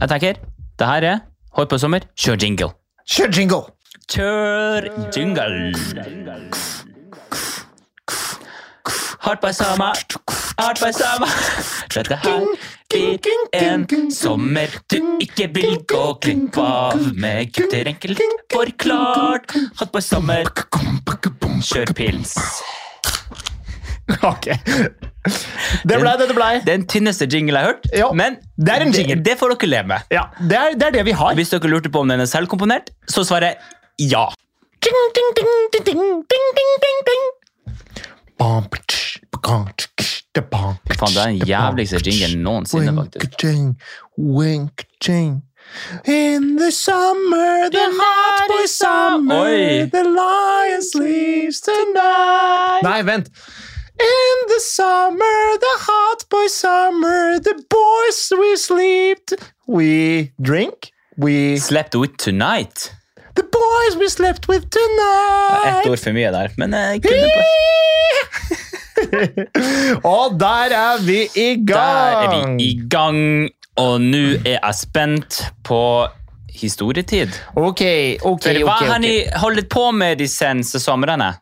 Jeg tenker, det her er Hår på sommer, kjør jingle. Kjør jingle! Kjør jingle. Hardt på sama, hardt på sama. Dette her blir en sommer du ikke vil gå glipp av. Med gutter enkelt forklart. Hardt på sommer, kjør pils. Ok. Det blei det det blei. Den tynneste jingle jeg har hørt, Ja, men det er en jingle. det, det får dere leve med. Ja, det er, det er det vi har. Hvis dere lurte på om den er selvkomponert, så svarer jeg ja. Ding, ding, ding, ding, ding, ding, ding, ding, ding. Bam, patsch, bakang, tsk, da, bam, Faen, det er den patsch, da, bam, jævligste jinglen noensinne, Wink, faktisk. ching, wink, ching. In the summer, the hot boy summer, Oi. the lion sleeps tonight. Nei, vent. In the summer, the hot boy summer, the boys we slept. We drink, we... Slept with tonight. The boys we slept with tonight. Ett ord for mye der, men eh, jeg kunne på. Og der er vi i Der gang. er vi i gang, og nå er jeg spent på historietid. Ok, ok, For hva ok, har ok. ni holdt på med de seneste somrene?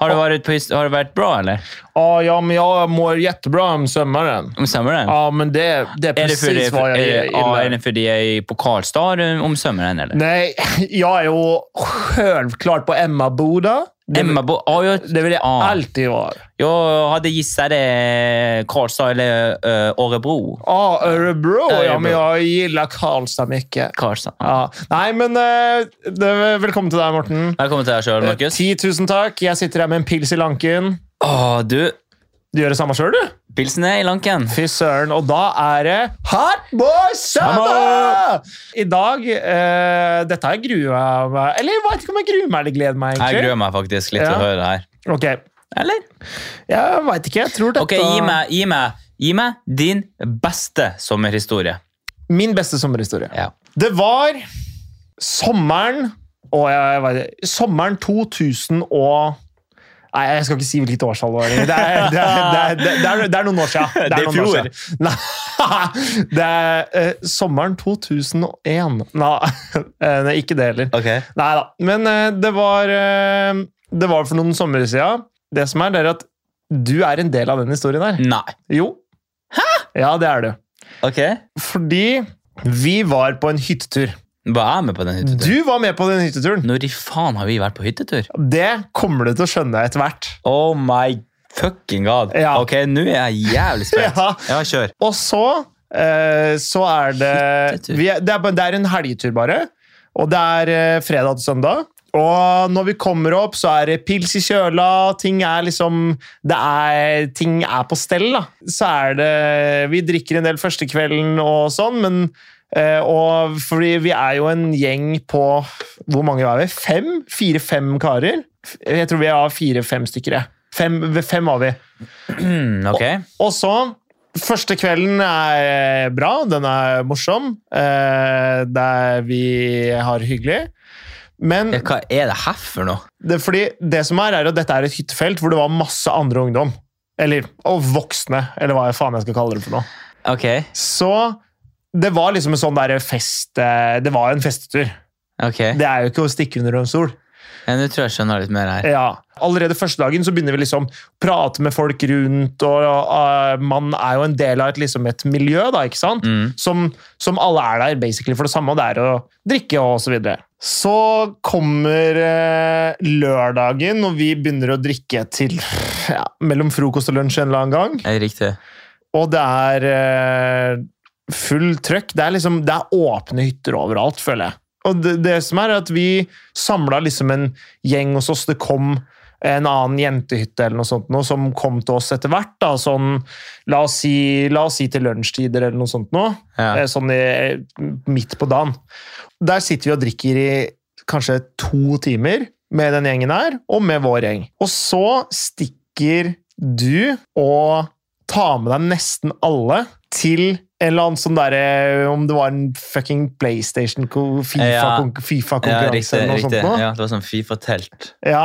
Har det vært, på, his- har det vært bra, eller? Ja, ja, men jag mår jättebra om sommaren. Om sommeren? Ja, men det, det är Er det precis fordi, vad er, jag det- ja, gillar. er det fordi jeg er på Karlstad om sommeren, eller? Nej, jag är ju självklart på Emmaboda. Det, Emma Bo... Ja, jeg, det vill jag Ja. alltid vara. jeg hadde gissat det Karlstad eller eh, Örebro. Ja, Örebro. Ja, Örebro. men jag gillar Karlstad mycket. Karlstad. Ja. Nej, men eh, det, välkommen till dig, Morten. Velkommen til deg sjøl, Markus. 10 000 takk. Jeg sitter her med en pils i lanken. Åh, du. Du gjør det samme sjøl, du? Pilsen er i lanken. Fy søren. Og da er det Hot Boy Summer! I dag eh, Dette her gruer jeg meg Eller jeg vet ikke om jeg gruer meg eller gleder meg, Jeg egentlig. gruer meg faktisk litt Ja. til å høre det her. Ok, Eller? Jeg veit ikke. Jeg tror dette Ok, gi meg, gi meg, gi meg din beste sommerhistorie. Min beste sommerhistorie. Ja. Det var sommeren å, jeg vet, ikke. Sommeren 2000 og Nei, jeg skal ikke si hvilket årstall det var. Det er, det er, det er, det er, det er noen år siden. Det er noen år siden. Nei, det er eh, sommeren 2001. Nei, eh, nei, ikke det heller. Ok. Nei da. Men eh, det var eh, Det var for noen somre siden. Det som er, det er at du er en del av den historien her. Nei. Jo. Hæ? Ja, det er du. Ok. Fordi vi var på en hyttetur. Var jeg med på den hytteturen? Du var med på den hytteturen. Når i faen har vi vært på hyttetur? Det kommer du til å skjønne etter hvert. Oh my fucking god. Ja. Ok, nå er jeg jævlig spent. Ja. Ja, kjør. Og så, eh, så er det Hyttetur. vi er, det, er, bare- det er en helgetur, bare. Og det er eh, fredag til søndag. Og når vi kommer opp, så er det pils i kjøla. Ting er liksom det er, Ting er på stell, da. Så er det Vi drikker en del første kvelden og sånn, men eh, og fordi vi er jo en gjeng på Hvor mange var vi? Fem? Fire-fem karer? Jeg tror vi har fire-fem stykker. jeg. Fem, fem var vi. Mm, ok. Og så Første kvelden er eh, bra, den er morsom, eh, der vi har det hyggelig. Men Ja, Hva er det her for noe? det, er fordi det som er, er at dette er et hyttefelt hvor det var masse andre ungdom. Eller og voksne, eller hva faen jeg skal kalle det for noe. Ok. Så det var liksom en sånn der fest eh, Det var en festetur. Ok. Det er jo ikke å stikke under en stol. Ja, nå tror jeg jeg skjønner litt mer her. Ja. Allerede første dagen så begynner vi liksom å prate med folk rundt, og, eh, man er jo en del av et, liksom et miljø, da, ikke sant? Mm. som, som alle er der basically for det samme, og det er å drikke og så videre. Så kommer eh, lørdagen, og vi begynner å drikke til ja, mellom frokost og lunsj en eller annen gang. Er det riktig? Og det er eh, full trøkk. Det er liksom, det er åpne hytter overalt, føler jeg. Og det, det som er, er at vi samla liksom en gjeng hos oss. Det kom en annen jentehytte eller noe sånt noe, som kom til oss etter hvert. da, sånn, La oss si, la oss si til lunsjtider eller noe sånt noe. Ja. Eh, Sånn i, midt på dagen. Der sitter vi og drikker i kanskje to timer med den gjengen her, og med vår gjeng. Og så stikker du og tar med deg nesten alle til en eller annen sånn derre Om det var en fucking PlayStation Ja. Fifa-konkurranse Ja, FIFA-konkurranse riktig, eller noe riktig. sånt noe. Ja, det var sånn Fifa-telt. Ja.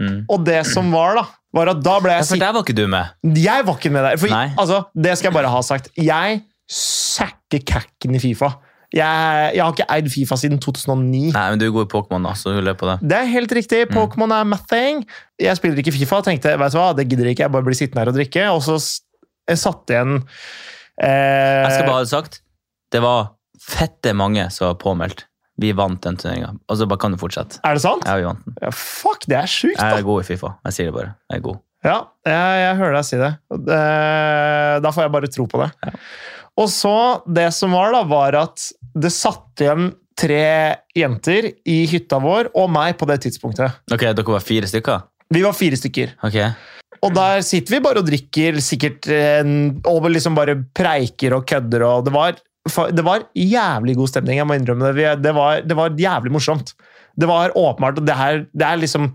Mm. Og det som var, da, var at da ble Ja, jeg for sitt... der var ikke du med. Jeg var ikke med der. For Nei. altså, det skal jeg bare ha sagt. Jeg sacker kakken i Fifa. Jeg, jeg har ikke eid Fifa siden 2009. Nei, Mm. men du er god i Pokémon, da, så du løper på det. Det er helt riktig. Pokémon er my thing. Jeg spiller ikke Fifa. tenkte, vet du hva, det gidder jeg ikke. Jeg bare blir sittende her og drikke. Og så s- jeg satte igjen eh, Jeg skal bare ha det sagt. Det var fette mange som var påmeldt. Vi vant den turneringa. Og så bare kan du fortsette. Er det sant? Ja, vi vant den. Ja, fuck, det er sjukt, Jeg da! er god i Fifa. Jeg sier det bare. Jeg er god. Ja, jeg, jeg hører deg si det. Og det. Da får jeg bare tro på det. Og så, det som var, da, var at det satt igjen tre jenter i hytta vår og meg på det tidspunktet. Ok, dere var fire stykker? Vi var fire stykker. Ok. Og der sitter vi bare og drikker sikkert en, og liksom bare preiker og kødder. og Det var, fa- det var jævlig god stemning, jeg må innrømme det. Vi- Det var, det var jævlig morsomt. Det var åpenbart, og det her det er liksom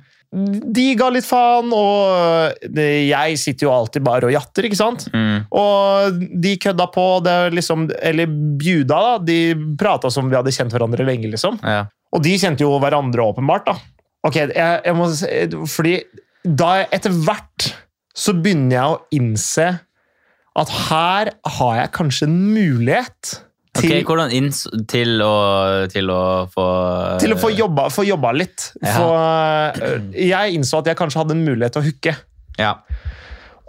De ga litt faen, og det, jeg sitter jo alltid bare og jatter, ikke sant? Mm. Og de kødda på, det er liksom, eller bjuda, da. De prata som vi hadde kjent hverandre lenge, liksom. Ja. Og de kjente jo hverandre åpenbart, da. Ok, jeg, jeg må si, Fordi da jeg- etter hvert så begynner jeg å innse at her har jeg kanskje en mulighet til, Ok, hvordan inns... Til å, til å få til å få jobba, få jobba litt. Ja. For, øh, jeg innså at jeg kanskje hadde en mulighet til å hooke. Ja.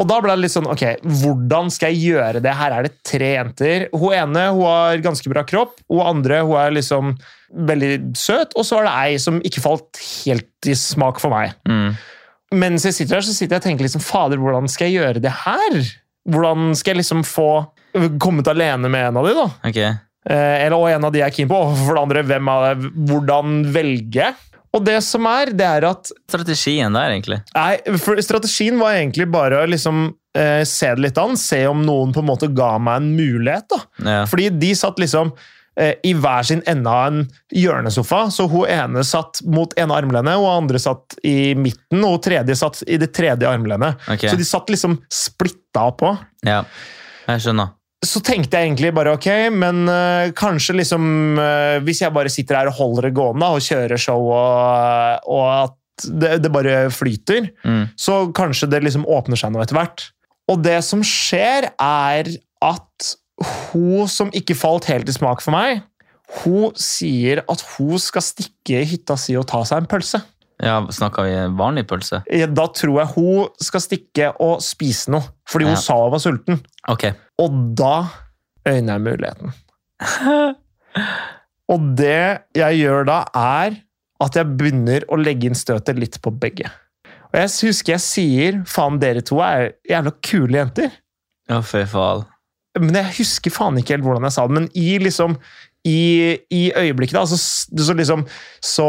Og da ble det litt sånn Ok, hvordan skal jeg gjøre det? Her er det tre jenter. Hun ene hun har ganske bra kropp. Hun andre hun er liksom veldig søt. Og så er det ei som ikke falt helt i smak for meg. Mm. mens jeg sitter her, så sitter jeg og tenker liksom, fader, hvordan skal jeg gjøre det her? Hvordan skal jeg liksom få kommet alene med en av de, da? Ok. Eh, eller, og en av de jeg er keen på. Og for det andre, hvem av Hvordan velge? Og det som er, det er at Strategien der, egentlig. Nei, for strategien var egentlig bare å liksom eh, se det litt an. Se om noen på en måte ga meg en mulighet, da. Ja. Fordi de satt liksom eh, i hver sin ende av en hjørnesofa. Så hun ene satt mot ene armlenet, og hun andre satt i midten, og hun tredje satt i det tredje armlenet. Ok. Så de satt liksom splitta på. ja. Jeg skjønner. Så tenkte jeg egentlig bare ok, men eh, kanskje liksom eh, Hvis jeg bare sitter her og holder det gående og kjører show, og, og at det, det bare flyter, Mm. så kanskje det liksom åpner seg noe etter hvert. Og det som skjer, er at hun som ikke falt helt i smak for meg, hun sier at hun skal stikke i hytta si og ta seg en pølse. Ja, Snakka vi vanlig pølse? Eh, Da tror jeg hun skal stikke og spise noe, fordi hun Ja. sa hun var sulten. Ok. Og da øyner jeg muligheten. Og det jeg gjør da, er at jeg begynner å legge inn støtet litt på begge. Og jeg husker jeg sier faen, dere to er jævla kule jenter. Å, fy faen. Men jeg husker faen ikke helt hvordan jeg sa det, men i liksom i, i øyeblikket da, så, s- så liksom så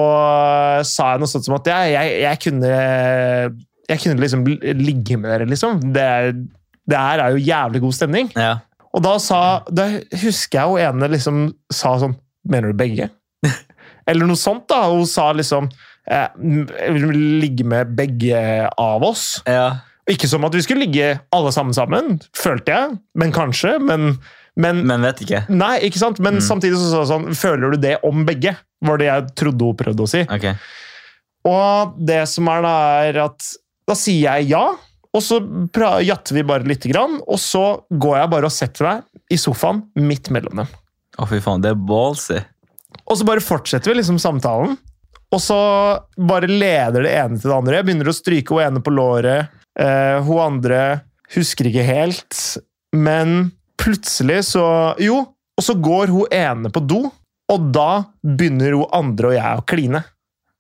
sa jeg noe sånt som at jeg, jeg, jeg kunne jeg kunne liksom ligge med dere, liksom. Det, er- det her er jo jævlig god stemning. Ja. Og da, sa, da husker jeg hun ene liksom sa sånn Mener du begge? Eller noe sånt, da. Hun sa liksom eh, m- Ligge med begge av oss. ja. Ikke som at vi skulle ligge alle sammen sammen, følte jeg. Men kanskje. Men, men Men vet ikke. Nei, ikke sant? Men Mm. samtidig så sa hun sånn Føler du det om begge? Var det jeg trodde hun prøvde å si. Ok. Og det som er da, er at da sier jeg ja, og så pra- jatter vi bare lite grann, og så går jeg bare og setter meg i sofaen midt mellom dem. Å, fy faen. Det er ballsy. Og så bare fortsetter vi liksom samtalen, og så bare leder det ene til det andre. Jeg begynner å stryke hun ene på låret, eh, hun andre husker ikke helt, men plutselig så Jo, og så går hun ene på do, og da begynner hun andre og jeg å kline.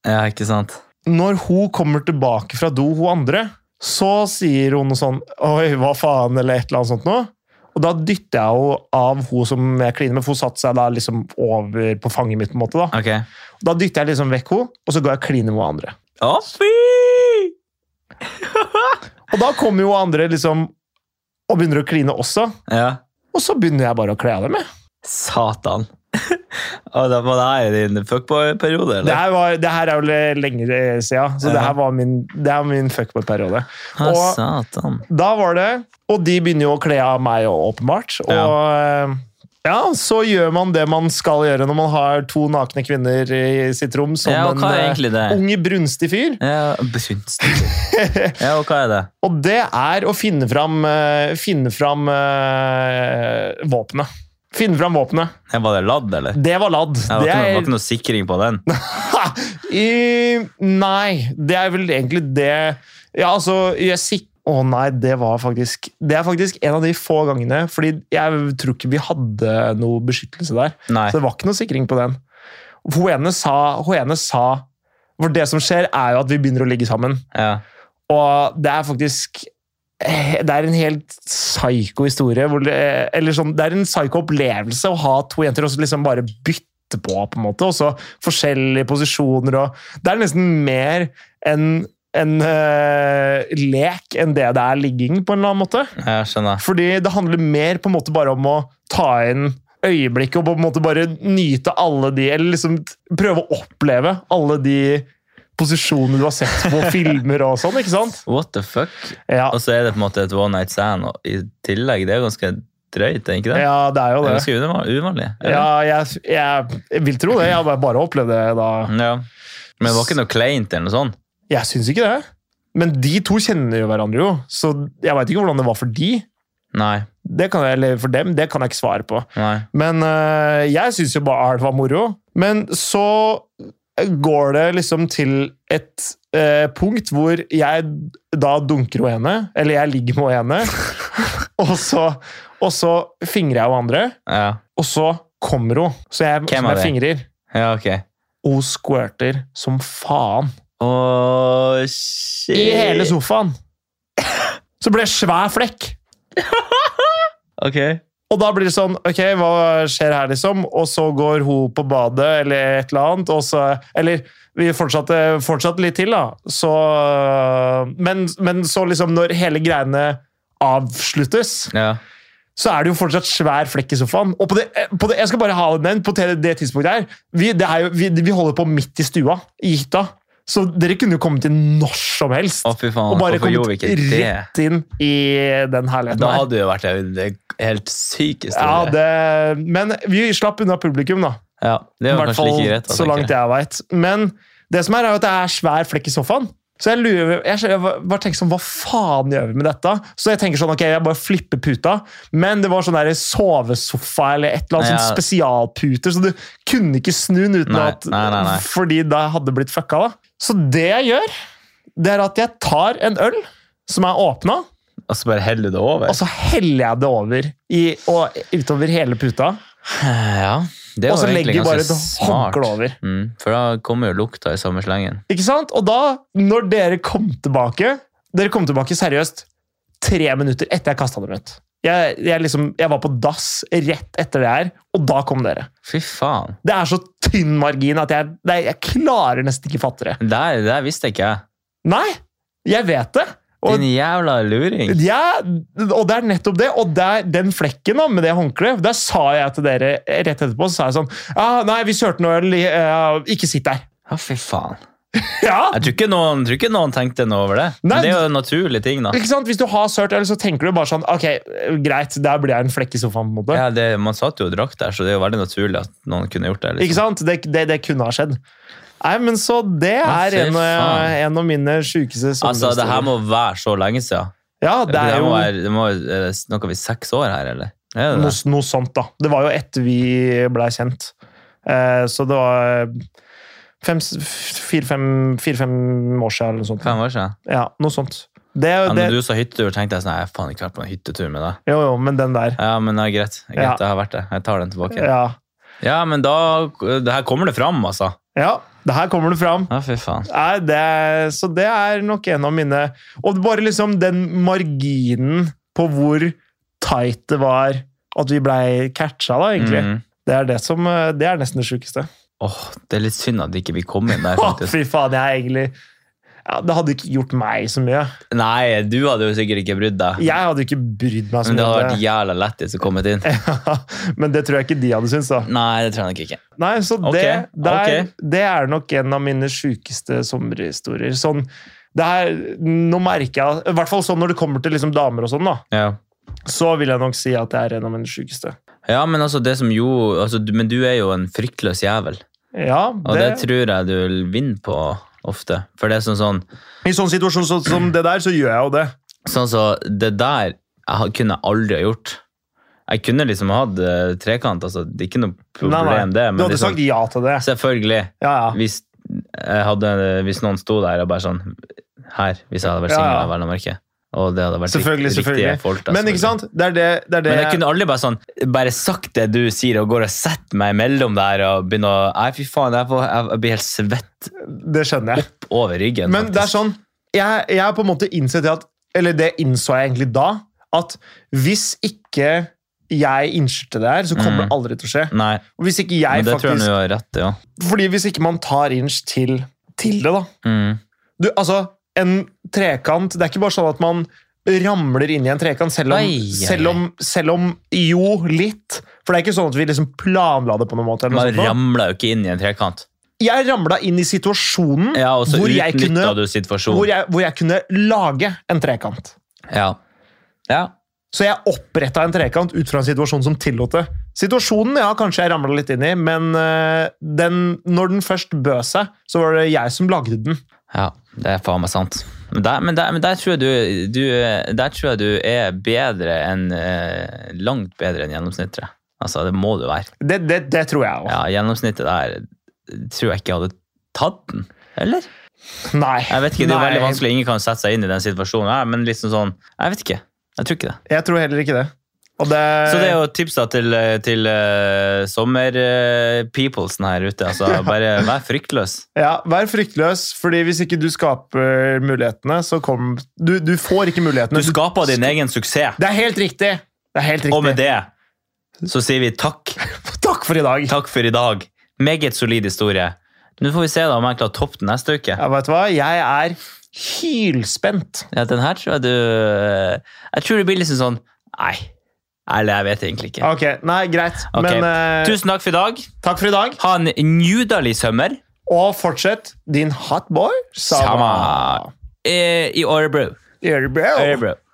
Ja, ikke sant? når hun kommer tilbake fra do, hun andre, så sier hun noe sånn Oi, hva faen? Eller et eller annet sånt noe. Og da dytter jeg jo av hun som jeg kliner med, for hun satte seg da liksom over på fanget mitt. på en måte Da Ok. Da dytter jeg liksom vekk hun, og så går jeg og kliner med hun andre. Å, fy! Og da kommer jo hun andre liksom og begynner å kline også. Ja. Og så begynner jeg bare å kle av dem. jeg. Satan. Og da var det her i din fuckboy-periode, Det eller? her, var, det her er jo lenge siden, så det her var min, det her var min fuckboy-periode. Å, og- satan. Da var det Og de begynner jo å kle av meg òg, åpenbart. Og eh, ja, så gjør man det man skal gjøre når man har to nakne kvinner i sitt rom som Ja, og en hva er eh, egentlig det? ung, brunstig fyr. Ja, besynstig. Ja, og hva er det? Og det er å finne fram, eh, finne fram eh, våpenet. Finn fram våpenet. Ja, Var det ladd, eller? Det var ladd. Det var, Det ikke noe, var er, ikke noe sikring på den. I, nei, det er vel egentlig det Ja, altså, jeg sik... Å nei, det var faktisk Det er faktisk en av de få gangene, fordi jeg tror ikke vi hadde noe beskyttelse der. Nei. Så det var ikke noe sikring på den. Hun ene sa, hun ene sa For det som skjer, er jo at vi begynner å ligge sammen. Ja. Og det er faktisk eh, det er en helt psyko historie. Hvor det, eh, eller sånn, det er en psyko opplevelse å ha to jenter og så liksom bare bytte på, på en måte. Og så forskjellige posisjoner og Det er nesten mer en, en eh, lek enn det det er ligging, på en eller annen måte. Jeg skjønner. Fordi det handler mer på en måte bare om å ta inn øyeblikket og på en måte bare nyte alle de Eller liksom prøve å oppleve alle de posisjonene du har sett på filmer og sånn, ikke sant? What the fuck? Ja, Og så er det på en måte et one night stand og i tillegg. Det er jo ganske drøyt, er det ikke det? ja det er Det jo er det. ganske uvan- uvanlig. eller? Ja, jeg, jeg vil tro det. Jeg har bare- bare opplevd det da. ja. Men det var ikke noe kleint eller noe sånt? Jeg syns ikke det. Men de to kjenner jo hverandre, jo, så jeg veit ikke hvordan det var for de. Nei. Det kan jeg, eller for dem, det kan jeg ikke svare på. Nei. Men øh, jeg syns jo bare alt var moro. Men så går det liksom til et øh, punkt hvor jeg da dunker hun ene, eller jeg ligger med hun ene, og, så, og så fingrer jeg hun andre, Ja. og så kommer hun, så jeg, Hvem som er jeg det? fingrer. Ja, ok. Og hun squirter som faen Åh, shit. i hele sofaen. Så ble det svær flekk. Ok. Og da blir det sånn Ok, hva skjer her, liksom? Og så går hun på badet eller et eller annet, og så Eller vi fortsatte, fortsatte litt til, da. Så men, men så, liksom, når hele greiene avsluttes, Ja. så er det jo fortsatt svær flekk i sofaen. Og på det, på det, jeg skal bare ha den nevnt, på det, det tidspunktet her vi, det er jo, vi, vi holder på midt i stua, i hytta. Så dere kunne jo kommet inn når som helst. Å, fy faen. og bare Hvorfor gjorde vi kommet ikke det? rett inn i den herligheten. Da her. hadde det jo vært en det helt syk Ja, historie. det, men vi slapp unna publikum, da. Ja, det I var hvert kanskje fall like greit. altså, da, så tenker langt jeg veit. Men det som er, er jo at det er svær flekk i sofaen. Så jeg lurer, jeg, skjø- jeg bare tenker sånn, Hva faen gjør vi med dette? Så jeg tenker sånn, ok, jeg bare flipper puta. Men det var sånn der sovesofa eller et eller annet Ja. sånn spesialputer, så du kunne ikke snu den uten Nei, at nei, nei, nei. Fordi da hadde det blitt fucka, da. Så det jeg gjør, det er at jeg tar en øl som er åpna, Og så bare heller du det over? og så heller jeg det over i, og, utover hele puta. ja, det var Og så egentlig legger jeg ganske bare et smart. håndkle over. Mm, for da kommer jo lukta i samme slengen. Ikke sant? Og da, når dere kom tilbake Dere kom tilbake seriøst tre minutter etter jeg kasta dem ut. Jeg, jeg, liksom, jeg var på dass rett etter det her, og da kom dere. Fy faen. Det er så tynn margin at jeg, nei, jeg klarer nesten ikke fatte det. Det her- det her visste ikke jeg. Nei, jeg vet det! Og, Din jævla luring. ja, og det er nettopp det. Og der, den flekken da, med det håndkleet, der sa jeg til dere rett etterpå så sa jeg sånn ah, Nei, vi kjørte noe øl. eh, ikke sitt der. Ja, fy faen. Ja, Jeg tror ikke noen, tror ikke noen tenkte noe over det. Nei. Men det er jo en naturlig ting, da. Ikke sant? Hvis du har sørt øl, så tenker du bare sånn Ok, greit, der blir jeg en flekk i sofaen. på en måte. Ja, det, man satt jo og drakk der, så det er jo veldig naturlig at noen kunne gjort det. Ikke Liksom. sant? Det, det, det kunne ha skjedd. Nei, men så det Ja, er fy en, faen. eh, en av mine sjukeste Altså, det her må være så lenge siden. Ja, Det, det er jo må være, det må, er det noe vi seks år her, eller? Er det noe, det? noe sånt, da. Det var jo etter vi blei kjent. Eh, så det var eh, fire-fem år siden, eller noe sånt. Fem år siden? Ja, noe sånt. Det, Ja, det, når du sa hyttetur, tenkte jeg sånn, jeg har faen ikke vært på en hyttetur med deg. jo, jo, men den der. Ja, men ja, greit. greit Ja. Jeg har vært det. Jeg tar den tilbake. Ja, Ja. men da det Her kommer det fram, altså. ja, det her kommer det fram. Ja, fy faen. Nei, det er, så det er nok en av mine Og bare liksom den marginen på hvor tight det var at vi blei catcha, da, egentlig. Mhm. Det, er det, som, eh, det er nesten det sjukeste. Åh, det er litt synd at ikke vi kom inn der, Å, faktisk. fy faen, jeg er egentlig ja, Det hadde ikke gjort meg så mye. Nei, du hadde jo sikkert ikke brydd deg. Jeg hadde ikke brydd meg så Men det hadde mye. vært jævla lættis å komme inn. Men det tror jeg ikke de hadde syntes, da. Nei, det tror jeg nok ikke. Nei, så det, Ok, der, ok. det er nok en av mine sjukeste sommerhistorier. Sånn, det her, nå merker jeg I hvert fall sånn når det kommer til liksom damer og sånn, da. Ja. så vil jeg nok si at det er en av mine sykeste. Ja, men altså, det som jo altså, du- Men du er jo en fryktløs jævel, Ja, og det, det, tror jeg du vil vinne på ofte. For det er sånn sånn I sånn situasjon så, som det der, så gjør jeg jo det. Sånn så, det der jeg ha- kunne jeg aldri ha gjort. Jeg kunne liksom hatt eh, trekant, altså. Det er ikke noe problem, Nei, nei. det. du Men hadde liksom, sagt ja til det. selvfølgelig. Ja, ja. Hvis, jeg hadde, hvis noen sto der og bare sånn Her, hvis jeg hadde vært Ja, singel, ja. ja, vel å merke. Og det hadde vært rikt- Selvfølgelig, riktige selvfølgelig. folk. da, Men selvfølgelig. ikke sant? Det er det, det, er det. Men jeg kunne aldri bare sånn Bare sagt det du sier, og går og setter meg imellom der og begynner å Nei, fy faen, jeg, får, jeg blir helt svett det skjønner jeg. over ryggen. Men det er faktisk. sånn Jeg, jeg har på en måte innsett det at Eller det innså jeg egentlig da, at hvis ikke jeg innskyrte det her, så kommer Mm. det aldri til å skje. Nei, Og hvis ikke jeg men det tror jeg faktisk du har rett i, ja. Fordi hvis ikke man tar inch til, til det, da Mm. du, Altså, en trekant Det er ikke bare sånn at man ramler inn i en trekant, selv om, Ai, ai, ai. Selv om, selv om Jo, litt. For det er ikke sånn at vi liksom planla det på noen måte. Eller Man noe sånt. ramla jo ikke inn i en trekant. nå. Jeg ramla inn i situasjonen Ja, Og så hvor, jeg kunne, utnytta du situasjonen. hvor, jeg, hvor jeg kunne lage en trekant. Ja. ja. Så jeg oppretta en trekant ut fra en situasjon som tillot det. Situasjonen ja, kanskje jeg ramla litt inn i, men øh, den, når den først bød seg, så var det jeg som lagde den. Ja, det er faen meg sant. Men der, men der, men der, tror, jeg du, du, der tror jeg du er bedre enn eh, Langt bedre enn gjennomsnittet. Altså, det må du være. Det, det, det tror jeg òg. Ja, gjennomsnittet der tror jeg ikke hadde tatt den. Eller? Nei. Jeg vet ikke, Det er jo Nei, veldig vanskelig. Ingen kan sette seg inn i den situasjonen. her, men liksom sånn, jeg vet ikke. Jeg tror ikke det. Jeg tror heller ikke det. Og det, Så det er jo tips da til, eh, til eh, sommer-peoplesen her ute. altså Bare vær fryktløs. ja, Vær fryktløs, fordi hvis ikke du skaper mulighetene, så kom Du, du får ikke Du mulighetene. skaper din egen suksess, Det er helt riktig! Det er helt riktig. og med det så sier vi takk. Takk for i dag. Takk for i dag. Meget solid historie. Nå får vi se da om jeg klarer å toppe den neste uke. Ja, vet du hva? Jeg er hylspent. Ja, den her tror jeg du eh, Jeg tror det blir liksom sånn Nei. Eller jeg vet egentlig ikke. Ok, Nei, greit. Ok. Men eh, Tusen takk for i dag. takk for i dag. Ha en nydelig sommer Og fortsett din hot boy Sama. Sama. eh, i Årebro. Ørebro. Årebro.